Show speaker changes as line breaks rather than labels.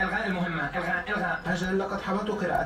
الغاء المهمه الغاء الغاء
أجل لقد حاولت قراءة